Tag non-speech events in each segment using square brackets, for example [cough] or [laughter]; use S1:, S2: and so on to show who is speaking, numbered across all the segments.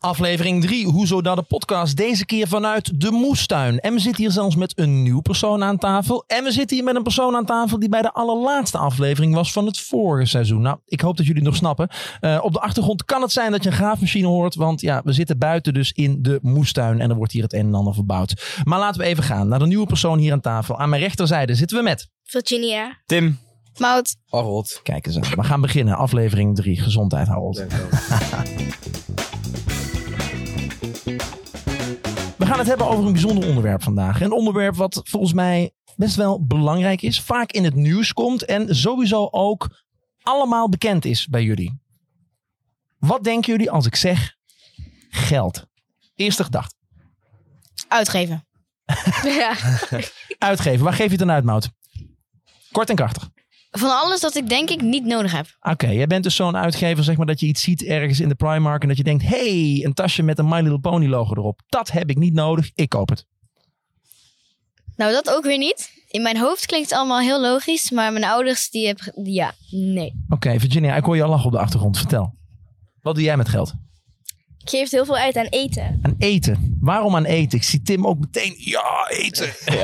S1: Aflevering 3, Hoezo dat de podcast, deze keer vanuit de moestuin. En we zitten hier zelfs met een nieuw persoon aan tafel. En we zitten hier met een persoon aan tafel die bij de allerlaatste aflevering was van het vorige seizoen. Nou, ik hoop dat jullie het nog snappen. Eh, op de achtergrond kan het zijn dat je een graafmachine hoort, want ja, we zitten buiten dus in de moestuin. En er wordt hier het een en ander verbouwd. Maar laten we even gaan naar de nieuwe persoon hier aan tafel. Aan mijn rechterzijde zitten we met...
S2: Virginia.
S3: Tim.
S2: Mout.
S3: Harold.
S1: Kijk eens aan, we gaan beginnen. Aflevering 3, gezondheid houden. [laughs] We gaan het hebben over een bijzonder onderwerp vandaag. Een onderwerp wat volgens mij best wel belangrijk is, vaak in het nieuws komt en sowieso ook allemaal bekend is bij jullie. Wat denken jullie als ik zeg geld? Eerste gedachte.
S4: Uitgeven.
S2: Ja.
S1: Uitgeven. Waar geef je het dan uit, Mout? Kort en krachtig.
S4: Van alles dat ik denk ik niet nodig heb.
S1: Oké, jij bent dus zo'n uitgever, zeg maar, dat je iets ziet ergens in de Primark en dat je denkt, hey, een tasje met een My Little Pony logo erop. Dat heb ik niet nodig, ik koop het.
S4: Nou, dat ook weer niet. In mijn hoofd klinkt het allemaal heel logisch, maar mijn ouders die hebben... ge- Ja, nee.
S1: Oké, Virginia, ik hoor je al lachen op de achtergrond. Vertel. Wat doe jij met geld?
S2: Ik geef heel veel uit aan eten.
S1: Aan eten. Waarom aan eten? Ik zie Tim ook meteen. Ja, eten. [laughs]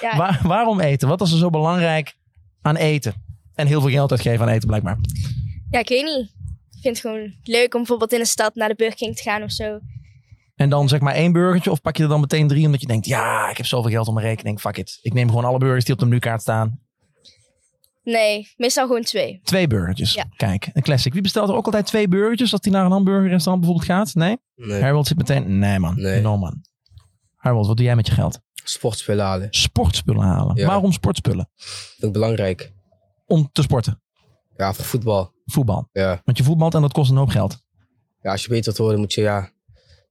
S2: Ja.
S1: Waar- waarom eten? Wat is er zo belangrijk aan eten? En heel veel geld uitgeven aan eten, blijkbaar.
S2: ja, ik weet niet. Ik vind het gewoon leuk om bijvoorbeeld in de stad naar de Burger King te gaan of zo.
S1: En dan zeg maar één burgertje, of pak je er dan meteen drie omdat je denkt: ja, ik heb zoveel geld op mijn rekening. Fuck it. Ik neem gewoon alle burgers die op de menukaart staan.
S2: Nee, meestal gewoon twee.
S1: Twee burgertjes.
S2: Ja.
S1: Kijk, een classic. Wie bestelt er ook altijd twee burgertjes als die naar een hamburgerrestaurant bijvoorbeeld gaat? Nee?
S3: Nee.
S1: Harold zit meteen: nee, man.
S3: Nee.
S1: No, man. Harold, wat doe jij met je geld?
S3: Sportspullen halen.
S1: Sportspullen halen.
S3: Ja.
S1: Waarom sportspullen?
S3: Dat is belangrijk.
S1: Om te sporten.
S3: Ja, voor voetbal.
S1: Voetbal.
S3: Ja.
S1: Want je voetbalt en dat kost een hoop geld.
S3: ja als je beter wilt worden, moet je ja,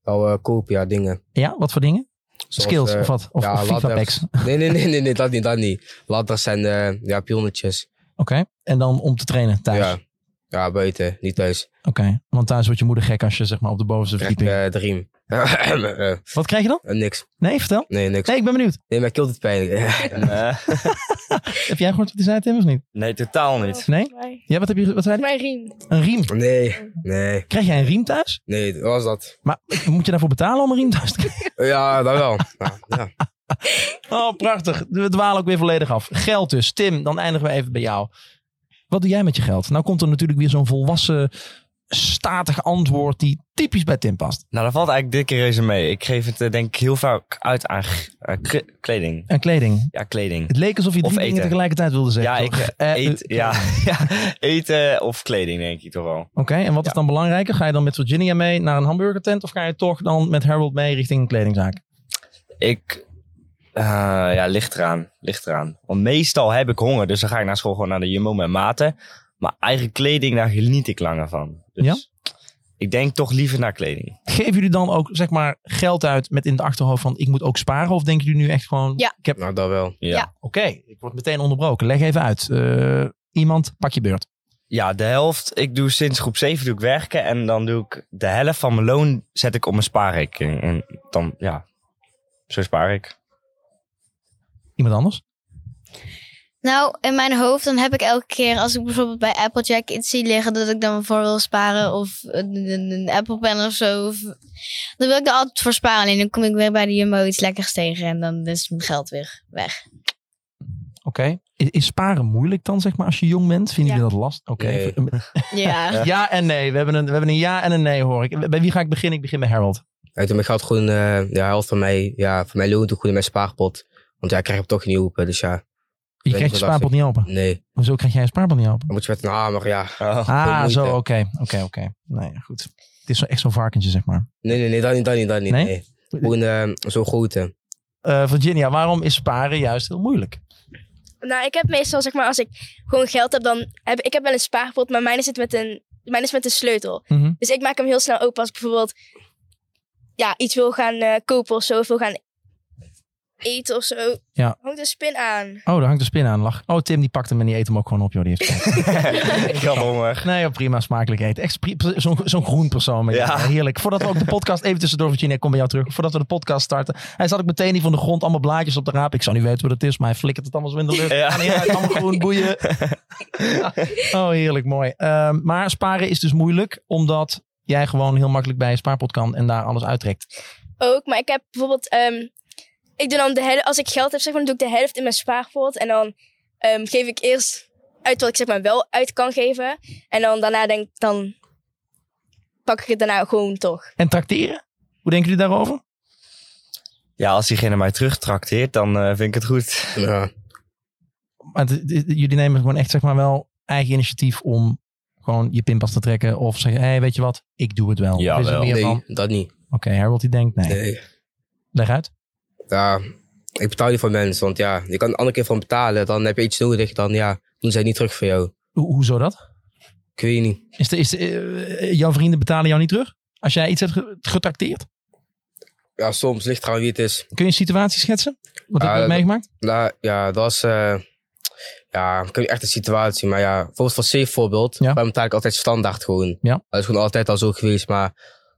S3: wel eh, kopen, ja, dingen. [laughs]
S1: Ja, wat voor dingen?
S3: Zoals,
S1: Skills
S3: eh,
S1: of wat? Of,
S3: ja,
S1: of FIFA
S3: ladders.
S1: packs. Oké.
S3: Nee, nee, nee, nee, nee, dat niet, dat niet. Ladders zijn eh, ja, pionnetjes.
S1: En dan om te trainen thuis.
S3: Ja. ja, buiten, niet thuis.
S1: Oké. Want thuis wordt je moeder gek als je zeg maar op de bovenste
S3: Trek
S1: verdieping.
S3: eh, de riem. [coughs] Eh, eh,
S1: Wat krijg je dan?
S3: niks.
S1: Nee, vertel.
S3: Nee, niks.
S1: Nee, ik ben benieuwd.
S3: Nee, maar ik doet het pijn.
S5: Eh,
S1: Heb jij gehoord wat hij zei, Tim, of niet?
S5: nee, totaal niet.
S1: Nee? Ja, wat, heb je, wat zei hij?
S2: Mijn riem.
S1: Een riem.
S3: [laughs] nee, nee,
S1: Krijg jij een riem thuis?
S3: nee, dat was dat.
S1: Maar moet je daarvoor betalen om een riem thuis te krijgen?
S3: Ja, dat wel. Ja, ja.
S1: Oh, prachtig. We dwalen ook weer volledig af. Geld dus. Tim, dan eindigen we even bij jou. Wat doe jij met je geld? Nou komt er natuurlijk weer zo'n volwassen, statig antwoord die typisch bij Tim past.
S5: [laughs] Nou, dat valt eigenlijk dikke reuze mee. Ik geef het eh, denk ik heel vaak uit aan g- eh, kle- kleding.
S1: En kleding.
S5: Ja, kleding.
S1: Het leek alsof je
S5: Of
S1: drie dingen
S5: eten.
S1: tegelijkertijd wilde zeggen.
S5: Ja, ik
S1: toch?
S5: eh,
S1: Eh,
S5: eet,
S1: eh,
S5: ja, [laughs] ja, eten of kleding denk ik toch wel.
S1: Oké, en wat is dan belangrijker? Ga je dan met Virginia mee naar een hamburgertent of ga je toch dan met Harold mee richting een kledingzaak?
S5: Ik, eh, ja, ligt eraan, ligt eraan. Want meestal heb ik honger, dus dan ga ik naar school gewoon naar de Jumbo met maten. Maar eigen kleding, daar geniet ik langer van. Dus
S1: Ja?
S5: ik denk toch liever naar kleding.
S1: Geven jullie dan ook zeg maar geld uit met in het achterhoofd van ik moet ook sparen? Of denken jullie nu echt gewoon,
S4: Ja.
S1: ik heb, oké,
S3: Nou, dat wel.
S5: Ja. ja.
S1: ik word meteen onderbroken. Leg even uit. Eh, iemand, pak je beurt.
S5: de helft. Ik doe sinds groep 7 doe ik werken en dan doe ik de helft van mijn loon zet ik op mijn spaarrekening. En dan, ja, zo spaar ik.
S1: Iemand anders?
S4: Nou, in mijn hoofd dan heb ik elke keer als ik bijvoorbeeld bij Applejack iets zie liggen... dat ik dan voor wil sparen of een, een, een Apple Pen of zo. Of, dan wil ik daar altijd voor sparen. Alleen dan kom ik weer bij de Jumbo iets lekkers tegen en dan is mijn geld weer weg.
S1: Oké. Is, is sparen moeilijk dan zeg maar als je jong bent? Vinden
S4: Ja.
S1: jullie dat lastig? Oké.
S3: Nee.
S4: Ja.
S1: Ja en nee. We hebben, een, we hebben een ja en een nee hoor ik. Bij wie ga ik beginnen? Ik begin bij Harold.
S3: En toen gaat gewoon eh de helft van mij, ja, van mijn loon toe gewoon in mijn spaarpot. Want ja, ik krijg hem toch niet open, dus ja,
S1: Je
S3: Weet
S1: krijgt je
S3: je wat lastig.
S1: spaarpot niet open.
S3: nee.
S1: Hoezo krijg jij je spaarpot niet open?
S3: Dan moet je met een hamer, ja.
S5: Oh.
S3: Veel
S1: Ah,
S3: moeite.
S1: zo, oké. Oké, oké. Nee, goed. Het is zo, echt zo'n varkentje, zeg maar.
S3: Nee, nee, nee, dat niet, dat niet, dat niet.
S1: Nee?
S3: Nee? Gewoon eh, zo'n grote.
S1: Eh, Virginia, waarom is sparen juist heel moeilijk?
S2: Nou, ik heb meestal, zeg maar, als ik gewoon geld heb, dan heb ik heb wel een spaarpot, maar mijn is het met een, mijn is met een sleutel.
S1: Mhm.
S2: Dus ik maak hem heel snel open als ik bijvoorbeeld ja, iets wil gaan eh, kopen of zo, of wil gaan eten of zo.
S1: Ja.
S2: Hangt een spin aan.
S1: Oh, daar hangt de spin aan. Lach. Oh, Tim, die pakt hem en die eet hem ook gewoon op, joh. Die heeft spijt.
S5: ik had honger.
S1: nee, joh, prima, smakelijk eten. Echt pri- pri- zo'n zo'n groen persoon. maar Ja.
S5: Ja.
S1: Heerlijk. Voordat we ook de podcast, even tussendoor, Virginia, ik kom bij jou terug. Voordat we de podcast starten. Hij zat ik meteen hier van de grond, allemaal blaadjes op de raap. Ik zou niet weten wat het is, maar hij flikkert het allemaal zo in de lucht.
S5: Ja.
S1: Aan hier uit, allemaal groen boeien. oh, heerlijk, mooi. Ehm, maar sparen is dus moeilijk, omdat jij gewoon heel makkelijk bij een spaarpot kan en daar alles uittrekt.
S2: ook. Maar ik heb bijvoorbeeld. ehm, ik doe dan de helft. Als ik geld heb, zeg maar, dan doe ik de helft in mijn spaarpot. En dan ehm, geef ik eerst uit wat ik zeg maar wel uit kan geven. En dan daarna denk ik, dan pak ik het daarna gewoon toch.
S1: En tracteren? Hoe denken jullie daarover?
S5: Ja, als diegene mij terugtrakteert, dan eh, vind ik het goed.
S3: Ja.
S1: Maar het- het- jullie nemen gewoon echt zeg maar wel eigen initiatief om gewoon je pinpas te trekken of zeggen, hé, hey, weet je wat, ik doe het wel.
S5: Ja,
S1: Of is het
S5: wel.
S1: meer van,
S3: Nee,
S1: Oké,
S3: dat niet.
S1: Harold die denkt nee.
S3: Nee.
S1: Leg uit.
S3: Ja, ik betaal niet voor mensen. Want ja, je kan er een andere keer van betalen. Dan heb je iets nodig. Dan ja, doen zij niet terug voor jou.
S1: Ho- hoezo dat?
S3: Ik weet niet.
S1: Is de, is de, eh, jouw vrienden betalen jou niet terug? Als jij iets hebt ge- getrakteerd?
S3: Ja, soms ligt eraan wie het is.
S1: Kun je een situatie schetsen? Wat heb
S3: Ah,
S1: je
S3: dat-
S1: meegemaakt?
S3: Nou, ja, dat was... eh, ja, ik heb niet echt een situatie. Maar ja, bijvoorbeeld voor Safe voorbeeld.
S1: Ja.
S3: Bij hem betaal ik altijd standaard gewoon.
S1: Ja.
S3: Dat is gewoon altijd al zo geweest. Maar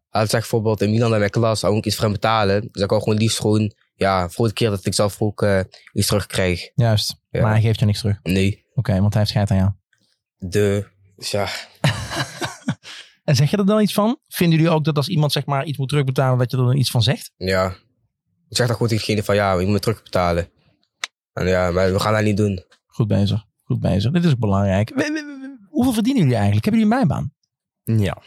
S3: hij zegt bijvoorbeeld in Milan bij mijn klas. Dan moet ik iets voor hem betalen. Dus ik kan gewoon liefst gewoon... Ja, voor de keer dat ik zelf ook eh, iets terugkrijg.
S1: Juist.
S3: Ja.
S1: Maar hij geeft je niks terug.
S3: Nee.
S1: Oké, want hij heeft scheid aan jou.
S3: De... Dus ja,
S1: En zeg je er dan iets van? Vinden jullie ook dat als iemand zeg maar iets moet terugbetalen, dat je er dan iets van zegt?
S3: ja. Ik zeg dan gewoon tegen diegene van ja, je moet me terugbetalen. En ja, maar we gaan dat niet doen.
S1: Goed bezig. Goed bezig. Dit is ook belangrijk. We- we- we- Hoeveel verdienen jullie eigenlijk? Hebben jullie een bijbaan?
S5: Ja.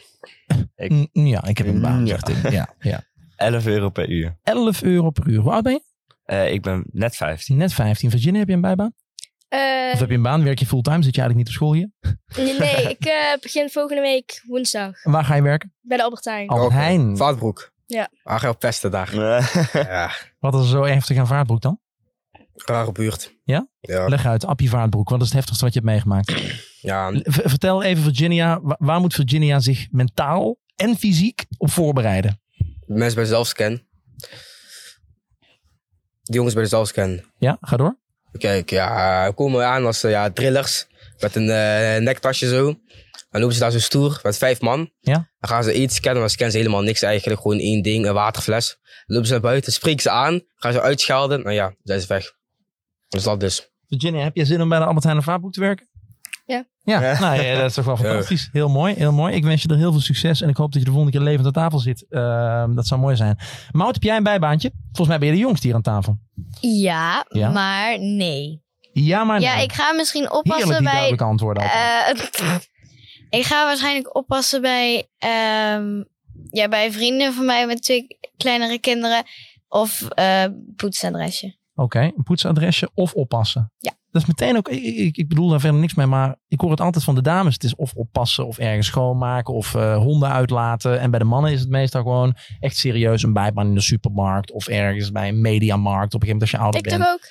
S5: Ik-
S1: Mm, Ja, ik heb een baan,
S5: Ja.
S1: zegt hij. Ja, ja.
S5: 11 euro per uur.
S1: 11 euro per uur. Hoe oud ben je?
S5: Eh, ik ben net 15.
S1: Net 15. Virginia, heb je een bijbaan?
S2: Eh,
S1: Of heb je een baan? Werk je fulltime? Zit je eigenlijk niet op school hier?
S2: nee, nee, ik eh, begin volgende week woensdag
S1: En waar ga je werken?
S2: bij de Albert Heijn.
S1: Albert Heijn.
S3: eh, Vaatbroek.
S2: Ja.
S3: Hij gaat pesten daar. Ja,
S1: Wat is er zo heftig aan Vaartbroek dan?
S3: rare buurt.
S1: Ja?
S3: Ja.
S1: Leg uit, Appie Vaartbroek. Wat is het heftigste wat je hebt meegemaakt?
S3: ja
S1: V- vertel even Virginia, wa- waar moet Virginia zich mentaal en fysiek op voorbereiden?
S3: mensen bij zelfscan. Die jongens bij de zelfscan.
S1: Ja, ga door.
S3: Kijk, ja, we komen aan als eh, ja, drillers. Met een eh, nektasje zo. Dan lopen ze daar zo stoer met vijf man.
S1: Ja.
S3: Dan gaan ze eten scannen, maar dan scannen ze helemaal niks eigenlijk. Gewoon één ding, een waterfles. Dan lopen ze naar buiten, spreken ze aan, gaan ze uitschelden. Nou ja, dan zijn ze weg. Dus dat dus.
S1: Virginia, heb jij zin om bij de Albert Heijn en Vaartbroek te werken?
S2: Ja.
S1: Ja,
S5: Ja.
S1: Nou, ja, dat is toch wel
S3: Ja.
S1: fantastisch. Heel mooi, heel mooi. Ik wens je er heel veel succes en ik hoop dat je de volgende keer levend aan tafel zit. Ehm, dat zou mooi zijn. Mout, heb jij een bijbaantje? Volgens mij ben je de jongste hier aan tafel.
S4: Ja,
S1: Ja?
S4: maar nee.
S1: Ja, maar
S4: Ja,
S1: nee.
S4: ik ga misschien
S1: Heerlijk
S4: oppassen
S1: die
S4: bij...
S1: duidelijke antwoorden. altijd.
S4: Eh, [laughs] ik ga waarschijnlijk oppassen bij, ehm, ja, bij vrienden van mij met twee kleinere kinderen. Of eh poetsadresje.
S1: Oké, een poetsadresje of oppassen.
S4: Ja.
S1: Dat is meteen ook, ik, ik- ik bedoel daar verder niks mee, maar ik hoor het altijd van de dames. Het is of oppassen of ergens schoonmaken of eh, honden uitlaten. En bij de mannen is het meestal gewoon echt serieus een bijbaan in de supermarkt of ergens bij een mediamarkt op een gegeven moment als je ouder
S2: TikTok
S1: bent.
S2: ook.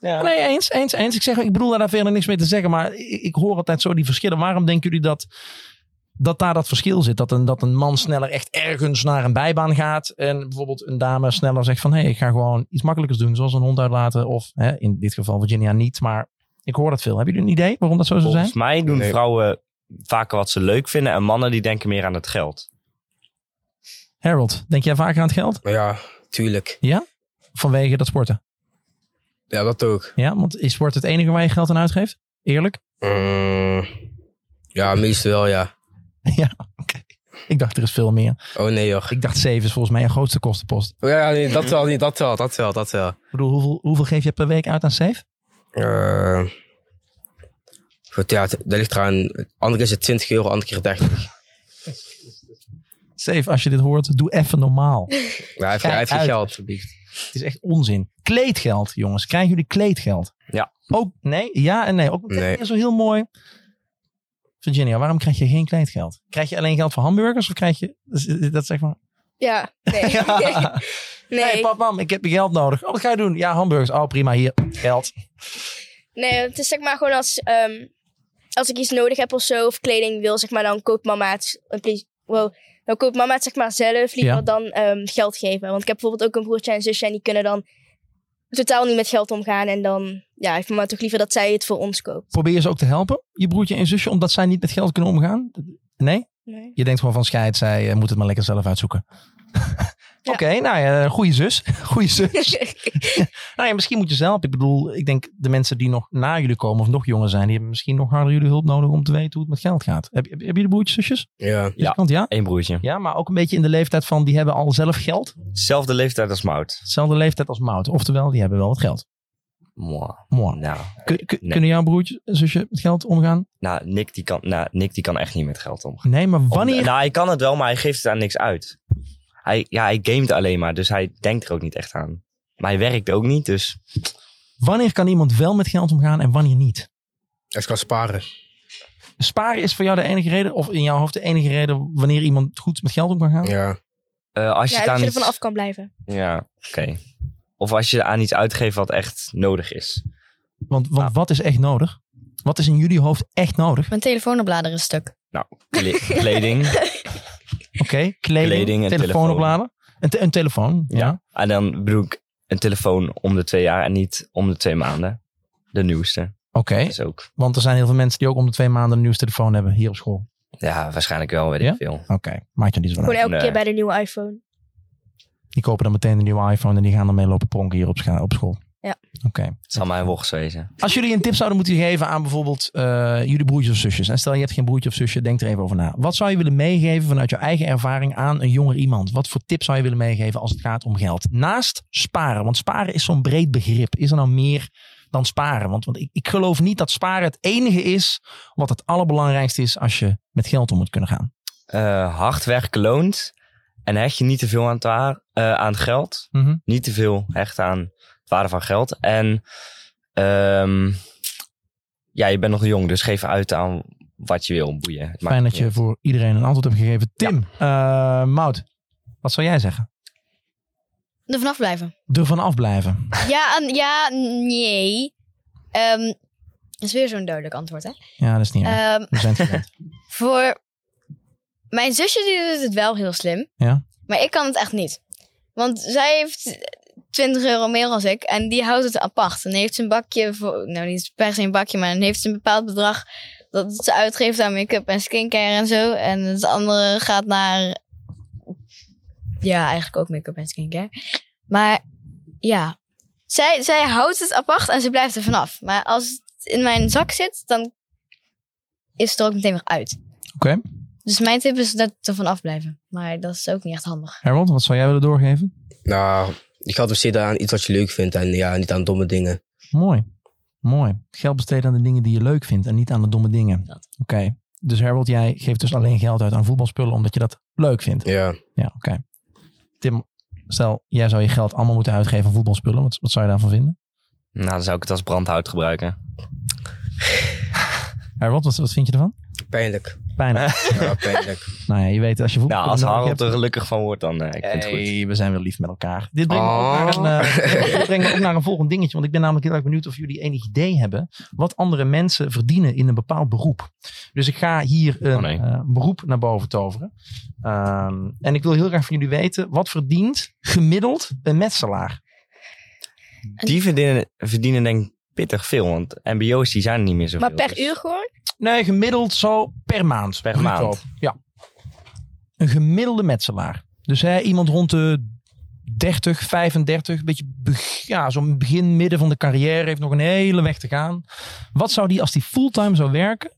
S1: Nee, eens, eens, eens. Ik, zeg, ik bedoel daar verder niks mee te zeggen, maar ik, ik hoor altijd zo die verschillen. Waarom denken jullie dat, dat daar dat verschil zit? Dat een, dat een man sneller echt ergens naar een bijbaan gaat en bijvoorbeeld een dame sneller zegt van... hé, hey, ik ga gewoon iets makkelijkers doen, zoals een hond uitlaten of hè, in dit geval Virginia niet, maar ik hoor dat veel. Hebben jullie een idee waarom dat zo zou zijn?
S5: Volgens mij doen
S3: Nee.
S5: vrouwen vaker wat ze leuk vinden en mannen die denken meer aan het geld.
S1: Harold, denk jij vaker aan het geld?
S3: Maar ja, tuurlijk.
S1: Vanwege dat sporten.
S3: Ja, dat ook.
S1: Ja, want is sport het enige waar je geld aan uitgeeft? Eerlijk?
S3: Mm, ja, meestal wel, ja.
S1: Ik dacht er is veel meer.
S3: Oh nee, hoor.
S1: Ik dacht 7 is volgens mij een grootste kostenpost.
S3: Oh, ja, ja, nee, dat wel, niet, dat wel, dat wel, dat wel.
S1: Ik bedoel, hoeveel, hoeveel geef je per week uit aan safe?
S3: Eh, goed, ja, het- dat ligt eraan. Andere keer is het 20 euro, andere keer 30.
S1: Safe, als je dit hoort, doe even normaal.
S3: Ja, hij heeft, hij heeft geen
S1: Uit,
S3: geld.
S1: alsjeblieft. Het is echt onzin. Kleedgeld, jongens. Krijgen jullie kleedgeld?
S5: Ja.
S1: Ook, nee, ja en nee. Ook meteen
S3: Nee.
S1: weer zo heel mooi. Virginia, waarom krijg je geen kleedgeld? Krijg je alleen geld voor hamburgers of krijg je... is- is Dat zeg
S2: [laughs]
S1: maar...
S2: Ja, [laughs] nee.
S1: Hey,
S2: nee.
S1: pap, mam, ik heb je geld nodig. Oh, wat ga je doen? Ja, hamburgers. Oh, prima, hier. Geld.
S2: Nee, het is zeg maar gewoon als, ehm, als ik iets nodig heb of zo, of kleding wil, zeg maar, dan koopt mama het. eh, please- Wow, dan koopt mama het zeg maar zelf liever
S1: Ja.
S2: dan ehm, geld geven. Want ik heb bijvoorbeeld ook een broertje en een zusje en die kunnen dan totaal niet met geld omgaan. En dan ja, heeft mama toch liever dat zij het voor ons koopt.
S1: Probeer ze ook te helpen, je broertje en zusje, omdat zij niet met geld kunnen omgaan? Nee?
S2: Nee.
S1: [laughs] Je denkt gewoon van scheid, zij eh, moet het maar lekker zelf uitzoeken.
S2: Ja.
S1: Oké, nou ja, goede zus. [laughs] Goede
S2: [laughs]
S1: zus. nou ja, misschien moet je ze helpen. Ik bedoel, ik denk de mensen die nog na jullie komen of nog jonger zijn, die hebben misschien nog harder jullie hulp nodig om te weten hoe het met geld gaat. Heb, heb, heb je de broertjes, zusjes?
S3: Ja.
S5: Ja.
S1: Kant, ja?
S5: Eén broertje.
S1: Ja, maar ook een beetje in de leeftijd van die hebben al zelf geld.
S5: Zelfde leeftijd als Mout.
S1: Hetzelfde leeftijd als Mout. Oftewel, die hebben wel wat geld.
S5: Mwah.
S1: Mooi.
S5: Nou,
S1: Kun- kun-
S5: Nee.
S1: Kunnen jouw broertje en zusje met geld omgaan?
S5: nou, Nick, die kan, nou, Nick die kan echt niet met geld omgaan.
S1: Nee, maar
S5: Om-
S1: wanneer...
S5: Nou, hij kan het wel, maar hij geeft het aan niks uit. Hij, ja, hij gamet alleen maar, dus hij denkt er ook niet echt aan. Maar hij werkt ook niet, dus
S1: Wanneer kan iemand wel met geld omgaan en wanneer niet?
S3: Als ik kan sparen.
S1: Sparen is voor jou de enige reden, of in jouw hoofd de enige reden wanneer iemand goed met geld om kan gaan?
S3: Ja.
S5: eh, als je
S2: Ja,
S5: het
S2: dat
S5: aan
S2: je
S5: iets...
S2: ervan af kan blijven.
S5: Ja, oké. Of als je aan iets uitgeeft wat echt nodig is.
S1: Want, want
S5: Nou.
S1: wat is echt nodig? Wat is in jullie hoofd echt nodig?
S4: Mijn telefoonblader is stuk.
S2: [laughs]
S5: Kle- kleding.
S1: Oké, kleding,
S5: Kleding en
S1: telefoon
S5: telefoon.
S1: opladen. Een, te- een telefoon, ja.
S5: ja. En dan bedoel ik een telefoon om de twee jaar en niet om de twee maanden. De nieuwste.
S1: Oké,
S5: Dat is ook.
S1: want er zijn heel veel mensen die ook om de twee maanden een nieuws telefoon hebben hier op school.
S5: Ja, waarschijnlijk wel, weet
S1: Ja?
S5: ik veel.
S1: Oké, maakt je niet zo
S2: Gewoon elke
S5: Nee.
S2: keer bij de nieuwe iPhone.
S1: Die kopen dan meteen een nieuwe iPhone en die gaan ermee lopen pronken hier op, scha- op school.
S2: Ja.
S1: Oké.
S5: Het zal mijn worst wezen.
S1: Als jullie een tip zouden moeten geven aan bijvoorbeeld eh, jullie broertjes of zusjes. En stel je hebt geen broertje of zusje, denk er even over na. Wat zou je willen meegeven vanuit jouw eigen ervaring aan een jonger iemand? Wat voor tip zou je willen meegeven als het gaat om geld? Naast sparen, want sparen is zo'n breed begrip. Is er nou meer dan sparen? Want, want ik, ik geloof niet dat sparen het enige is wat het allerbelangrijkste is als je met geld om moet kunnen gaan.
S5: Eh, hard werken loont. En hecht je niet te veel aan het, waar, eh, aan het geld.
S1: Mhm.
S5: Niet te veel hecht aan het waarde van geld. En ehm, ja, je bent nog jong, dus geef uit aan wat je wil boeien. Het maakt
S1: Fijn dat
S5: niet
S1: je
S5: uit.
S1: voor iedereen een antwoord hebt gegeven. Tim, eh Maud, wat zou jij zeggen?
S4: Er vanaf blijven.
S1: Er van afblijven.
S4: [laughs] ja, en- ja, nee. Ehm, dat is weer zo'n dodelijk antwoord, hè?
S1: Ja, dat is niet erg.
S4: Ehm,
S1: We zijn het
S5: [laughs]
S1: gewend.
S4: voor mijn zusje die doet het wel heel slim.
S1: Ja.
S4: Maar ik kan het echt niet. Want zij heeft 20 euro meer als ik. En die houdt het apart. En dan heeft ze een bakje voor... Nou, niet per se een bakje, maar dan heeft ze een bepaald bedrag... dat ze uitgeeft aan make-up en skincare en zo. En het andere gaat naar... Ja, eigenlijk ook make-up en skincare. Maar ja, zij, zij houdt het apart en ze blijft er vanaf. Maar als het in mijn zak zit, dan is het er ook meteen weer uit.
S1: Oké.
S4: Dus mijn tip is dat er vanaf blijven. Maar dat is ook niet echt handig.
S1: Harold, wat zou jij willen doorgeven?
S3: Nou, je gaat besteden aan iets wat je leuk vindt en ja, niet aan domme dingen.
S1: Mooi. Mooi. Geld besteden aan de dingen die je leuk vindt en niet aan de domme dingen. Oké.
S4: Dat.
S1: Dus Harold, jij geeft dus alleen geld uit aan voetbalspullen omdat je dat leuk vindt.
S3: Ja.
S1: Ja, oké. Tim, stel, jij zou je geld allemaal moeten uitgeven aan voetbalspullen. Wat, wat zou je daarvan vinden?
S5: Nou, dan zou ik het als brandhout gebruiken.
S1: Harold, wat, wat vind je
S5: [laughs]
S1: ervan?
S3: Pijnlijk.
S1: Bijna.
S3: Ja, pijnlijk.
S1: nou ja, je weet, als je
S5: Nou,
S1: voetbalspullen
S5: als
S1: nodig
S5: Harold
S1: hebt-
S5: er gelukkig van wordt, dan eh, ik vind het goed.
S1: Hey, we zijn weer lief met elkaar. Dit brengt, me ook naar
S3: Oh.
S1: een,
S5: [laughs]
S1: eh, dit brengt me ook naar een volgend dingetje. Want ik ben namelijk heel erg benieuwd of jullie enig idee hebben. wat andere mensen verdienen in een bepaald beroep. Dus ik ga hier een
S5: Oh, nee.
S1: eh, beroep naar boven toveren. Ehm, en ik wil heel graag van jullie weten. wat verdient gemiddeld een metselaar?
S5: Die verdienen, verdienen denk ik pittig veel, want mbo's die zijn er niet meer zoveel.
S2: Maar per
S5: dus-
S2: uur gewoon?
S1: Nee, gemiddeld zo per maand.
S5: Per
S1: Bruto.
S5: maand.
S1: Ja. Een gemiddelde metselaar. Dus hè, iemand rond de 30, 35, beetje beg- ja, zo'n begin, midden van de carrière, heeft nog een hele weg te gaan. Wat zou die, als die fulltime zou werken,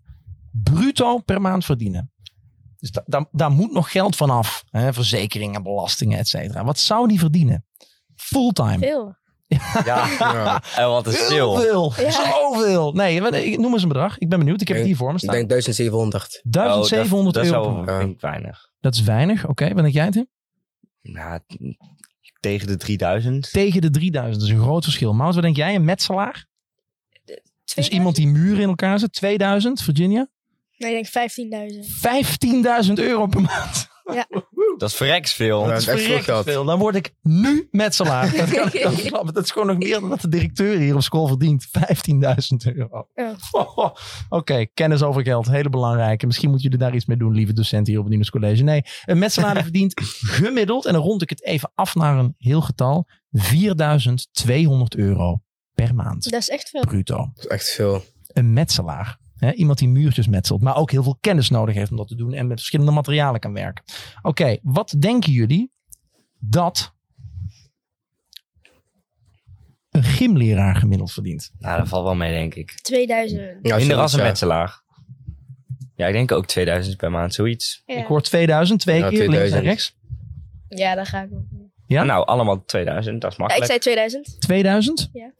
S1: bruto per maand verdienen? Dus da- daar- daar moet nog geld van af. Hè, verzekeringen, belastingen, et cetera. Wat zou die verdienen? Fulltime.
S2: Veel. [laughs]
S5: Ja,
S3: Ja.
S5: en wat een
S1: Heel
S5: stil.
S1: veel.
S2: Ja.
S1: Zoveel. Nee, wat- ik- noem eens een bedrag. Ik ben benieuwd. Ik heb het hier voor me
S3: Ik
S1: staan.
S3: denk 1700.
S1: 1700
S5: Oh, dat,
S1: euro. per
S5: Dat
S1: maand.
S5: zou, vind ik weinig.
S1: Dat is weinig. Oké, wat denk jij Tim?
S5: Nou, t- tegen de 3000.
S1: Tegen de 3000. Dat is een groot verschil. Maud, wat denk jij? Een metselaar? Dus iemand die muren in elkaar zet. 2000, Virginia.
S2: Nee, ik denk 15.000.
S1: 15.000 euro per maand.
S5: Dat is Nou, verreks veel.
S3: Ja.
S1: Dat Oh, is
S3: echt veel
S1: verrekt
S3: geld.
S1: veel. Dan word ik nu metselaar. Dat, kan ik wel verklappen. dat is gewoon nog meer dan dat de directeur hier op school verdient. 15.000 euro.
S2: Ja.
S1: [laughs] Oké, kennis over geld. Hele belangrijke. Misschien moeten jullie daar iets mee doen, lieve docenten hier op het Nieners College. Nee, een metselaar die verdient gemiddeld, en dan rond ik het even af naar een heel getal, 4.200 euro per maand.
S2: Dat is echt veel.
S1: Bruto
S3: Dat is echt veel.
S1: een metselaar. Hè? Iemand die muurtjes metselt, maar ook heel veel kennis nodig heeft om dat te doen en met verschillende materialen kan werken. Oké, wat denken jullie dat een gymleraar gemiddeld verdient.
S5: Nou, dat valt wel mee, denk ik.
S2: 2000.
S3: Ja,
S5: Minder als
S3: zoiets,
S5: een
S3: ja.
S5: metselaar. Ja, ik denk ook 2000 per maand, zoiets.
S4: Ja.
S1: Ik hoor 2000, twee
S3: Ja,
S1: keer links
S3: 2000.
S1: en rechts.
S2: Ja, daar ga ik op.
S1: Ja?
S5: Nou, allemaal 2000, dat is
S2: Ja, ik
S5: makkelijk.
S2: zei 2000.
S1: 2000.
S2: Ja.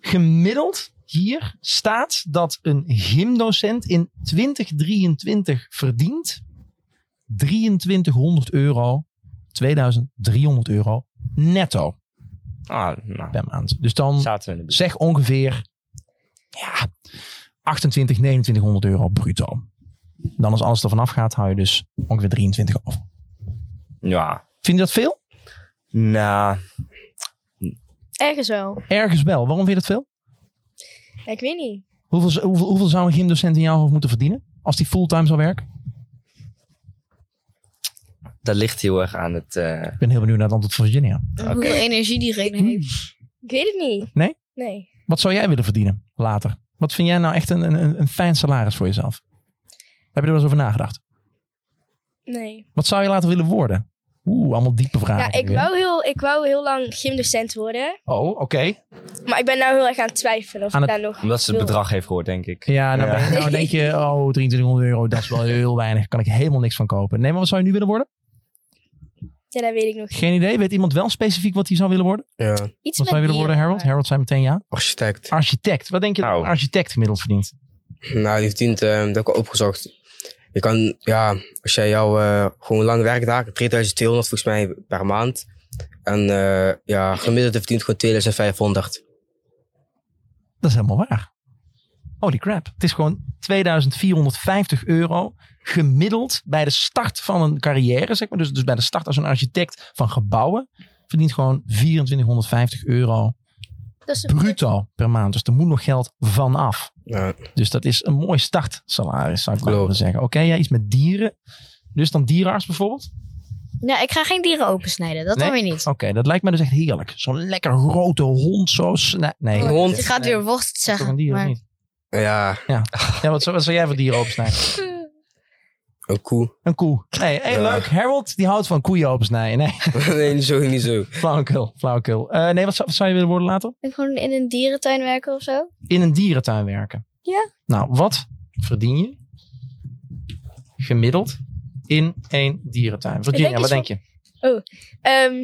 S1: Gemiddeld hier staat dat een gymdocent in 2023 verdient 2300 euro, 2300 euro netto
S5: Ah, nou,
S1: per maand. Dus dan
S5: zaten we in de buurt.
S1: zeg ongeveer ja, 28, 2900 euro bruto. Dan als alles ervan afgaat, hou je dus ongeveer 23 over.
S5: Ja,
S1: Vind je dat veel?
S5: nou,
S2: Ergens wel.
S1: Ergens wel. Waarom vind je dat veel?
S2: Ja, ik weet niet.
S1: Hoeveel, hoeveel, hoeveel zou een gymdocent in jouw hoofd moeten verdienen? Als die fulltime zou werken?
S5: dat ligt heel erg aan het... eh,
S1: Ik ben heel benieuwd naar het antwoord van Virginia.
S4: Hoeveel energie diegene
S1: [laughs]
S4: heeft.
S2: Ik weet het niet.
S1: Nee?
S2: Nee.
S1: Wat zou jij willen verdienen later? Wat vind jij nou echt een, een, een fijn salaris voor jezelf? Heb je er wel eens over nagedacht?
S2: Nee.
S1: Wat zou je later willen worden? Oeh, allemaal diepe vragen.
S2: Ja, ik wou heel, ik wou heel lang gymdocent worden.
S1: Oh, oké.
S2: Maar ik ben nou heel erg aan het twijfelen of
S1: Aan
S2: ik
S1: het-
S2: daar nog...
S5: omdat ze het
S2: wil.
S5: bedrag heeft gehoord, denk ik.
S1: Ja, nou,
S5: Ja.
S1: ben je- nou denk je, oh, 2300 euro, dat is wel heel weinig. Kan ik helemaal niks van kopen. Nee, maar wat zou je nu willen worden?
S2: Ja, dat weet ik nog.
S1: Geen idee. Weet iemand wel specifiek wat hij zou willen worden?
S3: Ja,
S2: Iets
S1: Wat
S2: met
S1: zou je willen
S2: dieren,
S1: worden, Harold?
S2: maar-
S1: Harold zei meteen ja.
S3: architect.
S1: Ah. Architect. Wat denk je dat
S5: Nou.
S1: een architect gemiddeld verdient?
S3: Nou, die verdient, eh, dat heb ik al opgezocht. Je kan, ja, als jij jouw eh, gewoon lange werkdagen, 3200 volgens mij per maand. En eh, ja, gemiddeld verdient gewoon 2500.
S1: Dat is helemaal waar. Holy crap. Het is gewoon 2450 euro gemiddeld bij de start van een carrière, zeg maar. Dus, dus bij de start als een architect van gebouwen verdient gewoon 2450 euro
S2: Dat is een-
S1: bruto per maand. Dus er moet nog geld vanaf.
S3: Ja,
S1: Dus dat is een mooi startsalaris, zou ik wel
S3: Klopt.
S1: willen zeggen. Oké, ja, iets met dieren. Dus dan dierenarts bijvoorbeeld?
S4: Nou, ik ga geen dieren opensnijden. Dat
S1: Nee?
S4: dan weer niet.
S1: Oké, dat lijkt me dus echt heerlijk. Zo'n lekker grote hond zo. sne- Nee,
S3: Een
S1: Oh, nee.
S3: hond.
S4: Je gaat weer worst
S1: toch een
S4: zeggen.
S1: dier of
S4: maar-
S1: niet?
S3: ja,
S1: Ja, wat, zou- wat zou jij voor dieren opsnijden?
S3: een koe. [laughs]
S1: Een koe. Nee, hey,
S3: Ja.
S1: leuk. Harold, die houdt van koeien opensnijden. Nee, [laughs]
S3: nee, niet zo, niet zo.
S1: flauwekul, flauwekul. Eh, nee, wat zou, wat zou je willen worden later?
S4: Ik gewoon in een dierentuin werken of zo.
S1: In een dierentuin werken.
S4: Ja.
S1: Nou, wat verdien je gemiddeld in een dierentuin? Virginia,
S2: denk
S1: wat denk
S2: iets
S1: je?
S2: Ehm,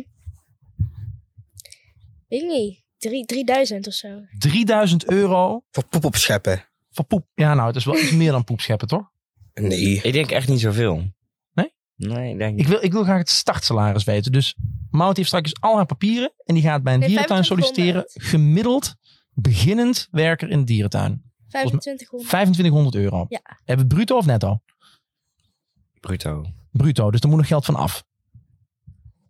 S2: weet ik niet. Drie, 3000 of zo.
S1: 3000 euro
S3: Voor poep opscheppen?
S1: voor poep. Ja, nou, het is wel iets meer dan poep scheppen, toch?
S3: Nee.
S5: Ik denk echt niet zoveel.
S1: Nee?
S5: Nee, ik denk
S1: Ik wil, ik wil graag het startsalaris weten. Dus Maud heeft straks al haar papieren en die gaat bij een
S2: Nee,
S1: dierentuin solliciteren.
S2: 2500.
S1: Gemiddeld beginnend werker in een dierentuin.
S2: 2500.
S1: 2500 euro.
S2: Ja.
S1: Hebben we het bruto of netto?
S5: bruto.
S1: Bruto, dus er moet nog geld van af.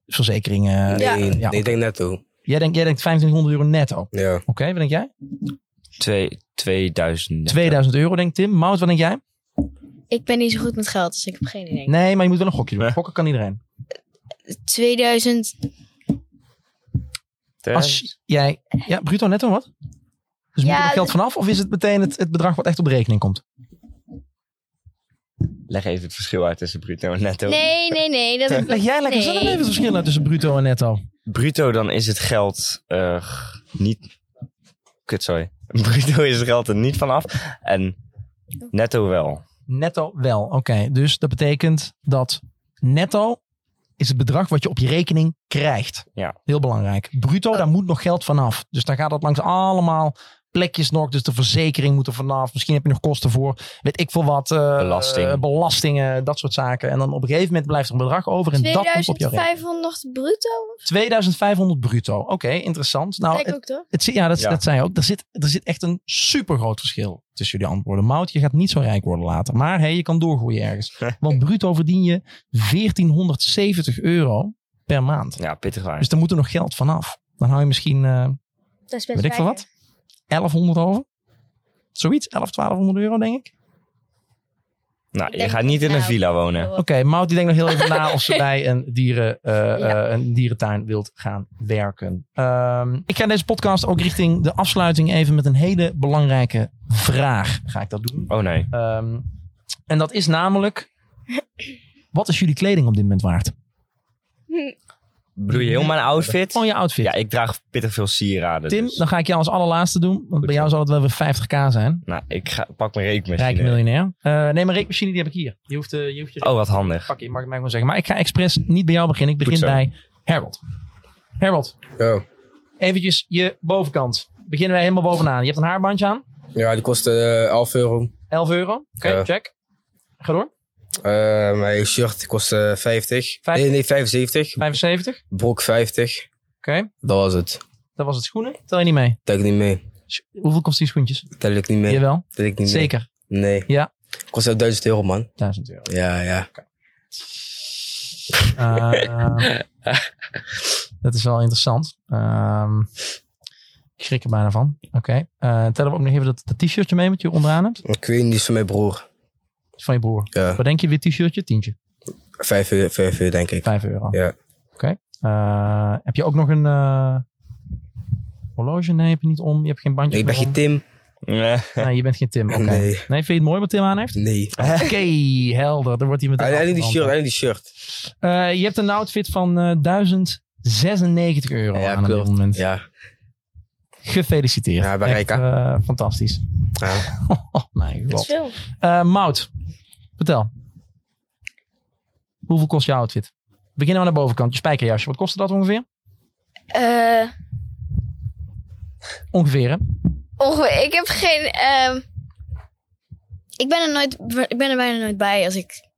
S1: Verzekeringen.
S2: Ja.
S3: Nee,
S1: Ja.
S3: nee, ik denk netto.
S1: Jij, denkt, jij denkt 2500 euro netto. Oké,
S3: Ja.
S1: wat denk jij?
S5: Twee, 2000.
S1: 2000 euro, denkt Tim. Mout, wat denk jij?
S4: Ik ben niet zo goed met geld, dus ik heb geen idee.
S1: Nee, maar je moet wel een gokje doen.
S5: Nee.
S1: Gokken kan iedereen.
S4: 2000.
S5: Twee-
S1: Als jij, ja, bruto netto wat? Dus moet
S4: Ja,
S1: er nog geld vanaf? Of is het meteen het, het bedrag wat echt op de rekening komt?
S5: Leg even het verschil uit tussen bruto en netto.
S4: Nee, nee, nee.
S1: [laughs]
S4: Dat
S1: Leg jij lekker zelf even
S4: Nee.
S1: het verschil uit tussen bruto en netto.
S5: Bruto, dan is het geld eh, niet... Kut, sorry. [laughs] Bruto is het geld er niet vanaf. En netto wel.
S1: Netto wel, oké. Dus dat betekent dat netto is het bedrag wat je op je rekening krijgt.
S5: Ja.
S1: Heel belangrijk. Bruto, daar moet nog geld vanaf. Dus daar gaat dat langs allemaal plekjes nog. Dus de verzekering moet er vanaf. Misschien heb je nog kosten voor, weet ik veel wat. eh,
S5: Belasting.
S1: eh, belastingen, dat soort zaken. En dan op een gegeven moment blijft er een bedrag over. En dat komt op jouw rekening.
S4: 2500 bruto?
S1: 2500 bruto. Oké, interessant. Nou,
S2: Kijk
S1: het-
S2: ook toch?
S1: het, zit- ja, dat,
S5: Ja.
S1: dat zei je ook. Er zit, er zit echt een super groot verschil tussen jullie antwoorden. Mout, je gaat niet zo rijk worden later. Maar hey, je kan doorgroeien ergens. Want bruto verdien je 1470 euro per maand.
S5: Ja, pittig waar.
S1: Dus daar moet er nog geld vanaf. Dan hou je misschien, eh,
S2: Dat is best
S1: weet ik veel wat,
S2: weinig.
S1: 1100 over? Zoiets, 11, 1200 euro denk ik.
S5: nou,
S4: Ik
S5: je
S4: denk-
S5: gaat niet in een
S4: nou,
S5: villa wonen.
S1: Oké, Mout die denkt nog heel even na of ze bij een, dieren, eh, eh, een dierentuin wilt gaan werken. Ehm, ik ga deze podcast ook richting de afsluiting even met een hele belangrijke vraag. Ga ik dat doen?
S5: Oh nee.
S1: Ehm, en dat is namelijk. Wat is jullie kleding op dit moment waard?
S5: Bedoel je heel mijn outfit?
S1: Gewoon je outfit.
S5: Ja, ik draag pittig veel sieraden.
S1: Oh, Tim,
S5: dus.
S1: dan ga ik jou als allerlaatste doen. Want bij jou zal het wel weer 50k zijn.
S5: Nou, ik ga, pak mijn rekenmachine.
S1: Rijke miljonair. Eh nee, mijn rekenmachine die heb ik hier. Je hoeft, eh, je, hoeft je
S5: Oh, wat handig.
S1: pak je, mag ik mij gewoon zeggen. Maar ik ga expres niet bij jou beginnen. Ik
S5: Goed
S1: begin
S5: zo.
S1: bij Harold. Harold,
S3: Yo.
S1: eventjes je bovenkant. Beginnen wij helemaal bovenaan. Je hebt een haarbandje aan.
S3: Ja, die kostte eh, 11 euro.
S1: 11 euro. Oké,
S3: Ja.
S1: check. Ga door.
S3: Eh, mijn shirt kostte 50.
S1: Vijf-
S3: Nee, nee, 75.
S1: 75. Oké,
S3: Broek 50. Dat was het.
S1: dat was het schoenen. Tel je niet mee.
S3: Tel ik niet mee.
S1: Sch- Hoeveel kost die schoentjes?
S3: Tel ik niet mee.
S1: Jawel,
S3: Tel ik niet
S1: zeker.
S3: mee. Nee.
S1: Ja.
S3: Kostte 1000 euro, man.
S1: 1000 euro.
S3: Ja, ja.
S1: Ehm, [laughs] dat is wel interessant. Ehm, ik schrik er bijna van. Oké. Eh, tellen we ook nog even dat, dat t-shirtje mee met je onderaan hebt.
S3: Ik weet niet, die is van mijn broer.
S1: Dat is Van je broer.
S3: Ja.
S1: Wat denk je, wit t-shirtje? Tientje.
S3: 5 uur, 5 uur denk ik.
S1: Vijf euro.
S3: Ja.
S1: Oké. Eh, heb je ook nog een eh, horloge? Nee, heb je niet om. Je hebt geen bandje.
S3: Nee, ik ben
S1: meer
S3: geen
S1: om.
S3: Tim.
S5: Nee.
S1: Nee, je bent geen
S3: [laughs]
S1: Tim. Oké.
S3: Nee.
S1: Nee, vind je het mooi wat Tim aan
S3: [laughs]
S1: heeft?
S3: Nee.
S1: Oké, helder. Dan wordt hij meteen.
S3: Alleen die shirt,
S1: afgebrand.
S3: alleen die shirt.
S1: Eh, je hebt een outfit van eh 1096 euro aan op dit moment.
S3: Ja.
S1: Gefeliciteerd.
S3: Ja, bij
S1: Echt,
S3: Rijka.
S1: eh, fantastisch.
S3: Ja.
S1: [laughs] Oh, mijn
S2: Dat
S1: god.
S2: is veel.
S1: Eh Mout, vertel. Hoeveel kost je outfit? We beginnen aan de bovenkant. Je spijkerjasje. Wat kostte dat ongeveer?
S4: Eh,
S1: Ongeveer, hè?
S4: ongeveer. Oh, Ik heb geen. ehm, ik, ben er nooit, ik ben er bijna nooit bij als ik.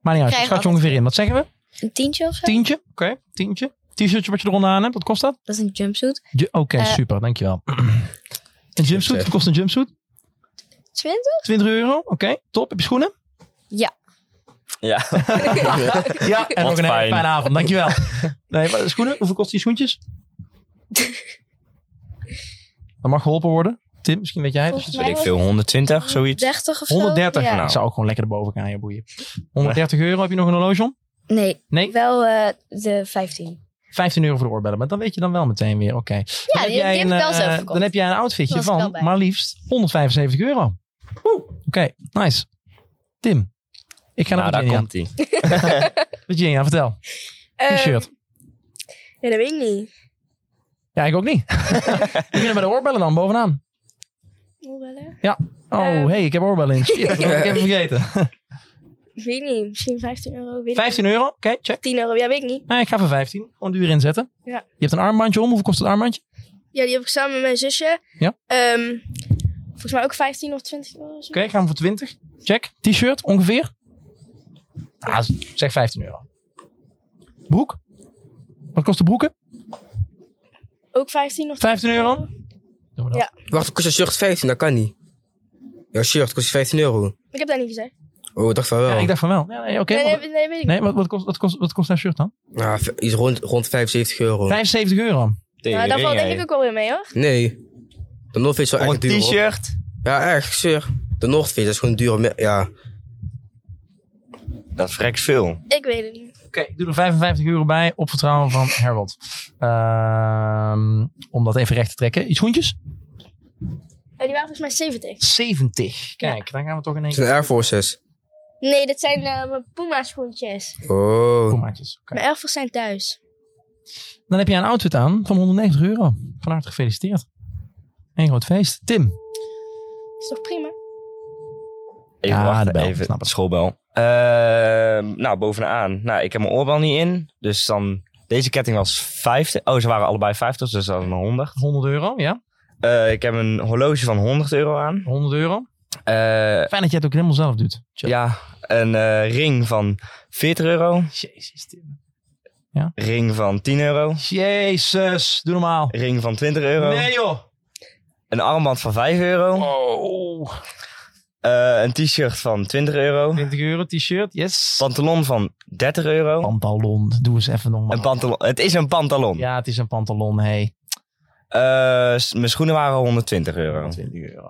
S1: Maar niet uit.
S4: Krijg
S1: Schat je
S4: altijd.
S1: ongeveer in. Wat zeggen we?
S4: Een tientje of zo?
S1: Tientje? Oké, tientje. T-shirtje wat je eronder aan hebt. Wat kost dat?
S4: Dat is een jumpsuit.
S1: Ju- Oké,
S4: Eh.
S1: super. Dankjewel. Een jumpsuit? Wat kost een jumpsuit?
S4: 20?
S1: 20 euro? Oké, top. Heb je schoenen?
S5: Ja.
S1: [laughs] Ja, en nog
S5: Wat
S1: een hele
S5: fijn.
S1: fijne avond. [laughs] Dankjewel. Nee, maar schoenen? Hoeveel kost die schoentjes?
S4: [laughs]
S1: Dat mag geholpen worden. Tim, misschien weet jij het.
S4: Volgens
S5: Weet
S4: mij
S5: ik veel, 120, zoiets.
S4: 30 of zo?
S1: 130.
S4: Ja.
S1: Nou, zou ook gewoon lekker erboven gaan, je boeien. 130 euro. Heb je nog een horloge om?
S4: Nee,
S1: Nee?
S4: wel eh, de 15.
S1: 15 euro voor de oorbellen. Maar dan weet je dan wel meteen weer. Oké. Dan
S4: die- die
S1: jij
S4: heb
S1: een,
S4: ik wel
S1: eh,
S4: zelf gekocht.
S1: Dan heb jij een outfitje
S4: Was ik wel
S1: van
S4: bij.
S1: maar liefst 175 euro. Oké, nice. Tim, ik ga
S5: Nou,
S1: naar
S5: daar
S1: Virginia.
S5: komt hij.
S1: Virginia, vertel.
S4: Eh,
S2: Ehm,
S1: T-shirt.
S2: Nee, dat weet ik niet.
S1: Ja, ik ook
S4: [laughs]
S1: niet. We beginnen bij de oorbellen dan, bovenaan.
S2: Oorbellen?
S1: Oh,
S4: Eh.
S2: Ehm.
S1: hey, ik heb oorbellen in. Shit, dat heb ik even
S4: [laughs]
S1: vergeten.
S2: Ik weet niet. Misschien 15 euro. Weet ik
S1: 15 euro, oké, check.
S2: niet. 10 euro. Ja, weet ik niet.
S1: Nee, ik ga voor 15. Gewoon duur inzetten.
S2: Ja.
S1: Je hebt een armbandje om. Hoeveel kost het armbandje?
S2: Ja, die heb ik samen met mijn zusje.
S1: Ja.
S2: Ehm, volgens mij ook 15 of 20 euro. of zo.
S1: Oké, gaan we voor 20. Check. T-shirt, ongeveer. Ah, zeg 15 euro. Broek? Wat kost de broeken?
S2: Ook 15 of
S1: 15 euro? Doen we dat.
S2: Ja.
S3: Wacht, kost je shirt 15? Dat kan niet. Jouw shirt kost 15 euro.
S2: Ik heb dat niet gezegd.
S3: Oh, ik dacht van wel.
S1: Ja, ik dacht van wel. Nee, nee, oké.
S2: nee,
S1: wat-
S2: nee, nee, weet ik niet.
S1: Nee, wat, wat kost, wat, kost, wat kost dat shirt dan?
S3: Ja, v- iets rond, rond 75 euro.
S1: 75 euro.
S2: Nou, daar valt denk ik ook wel weer mee hoor.
S3: Nee. De North Face is wel
S5: Voor
S3: echt
S5: een
S3: duur. hoor.
S5: t-shirt.
S3: Ja, echt, zeer. De North Face dat is gewoon duur. me- Ja.
S5: Dat is vreks veel.
S2: Ik weet het niet.
S1: Oké, ik doe er 55 euro bij op vertrouwen van Harold. Ehm, om dat even recht te trekken. Iets schoentjes?
S2: En die waren volgens mij 70.
S1: 70. Kijk, daar gaan we toch in één
S3: Het zijn
S1: keer.
S3: Air Forces.
S2: Nee, dat zijn eh, mijn Puma schoentjes.
S3: Oh.
S1: Koemaatjes. Oké.
S2: Mijn elfers zijn thuis.
S1: Dan heb je een outfit aan van 190 euro. Van harte gefeliciteerd. Een groot feest. Tim,
S2: Is toch prima?
S5: Even
S1: Ja, de
S5: wachten,
S1: bel,
S5: even.
S1: snap het.
S5: Schoolbel. Ehm, nou, bovenaan. Nou, ik heb mijn oorbel niet in. Dus dan... Deze ketting was 50. Oh, ze waren allebei 50, dus dat is een 100.
S1: 100 euro. Ja,
S5: Eh, ik heb een horloge van 100 euro aan.
S1: 100 euro.
S5: Eh,
S1: Fijn dat jij het ook helemaal zelf doet. Chill.
S5: ja, een eh, ring van 40 euro.
S1: Jezus, Tim.
S5: Ring van 10 euro.
S1: Jezus, doe normaal.
S5: Ring van 20 euro.
S1: Nee joh.
S5: Een armband van 5 euro.
S1: Oh.
S5: Eh, een t-shirt van 20 euro.
S1: 20 euro t-shirt, yes.
S5: Pantalon van 30
S1: Oh,
S5: euro.
S1: Pantalon, doe eens even
S5: Een
S1: normaal.
S5: pantalon. Het is een pantalon.
S1: Ja, het is een pantalon, hey.
S5: Eh, s- mijn schoenen waren 120 euro.
S1: 20 euro.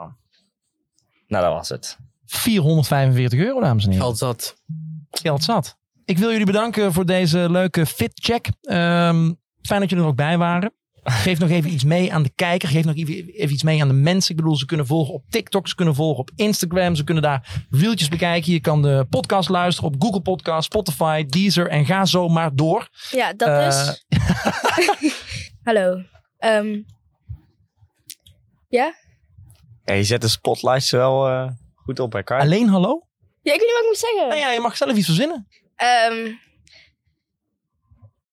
S5: Nou, dat was het.
S1: 445 euro, dames en heren.
S3: Al zat.
S1: geld zat. Ik wil jullie bedanken voor deze leuke fitcheck. Ehm, fijn dat jullie er ook bij waren. Geef nog even iets mee aan de kijker. Geef nog even, even iets mee aan de mensen. Ik bedoel, ze kunnen volgen op TikTok, ze kunnen volgen op Instagram. Ze kunnen daar wieltjes bekijken. Je kan de podcast luisteren op Google Podcast, Spotify, Deezer en ga zo maar door.
S2: Ja, dat
S1: Eh, [laughs]
S2: dus. Hallo. Ehm, ja?
S5: Ja, je zet de spotlights wel eh, goed op elkaar.
S1: Alleen hallo? Oh
S2: ja? Ik weet niet wat ik moet zeggen.
S1: Nou ja, je mag zelf iets verzinnen.
S2: Ehm,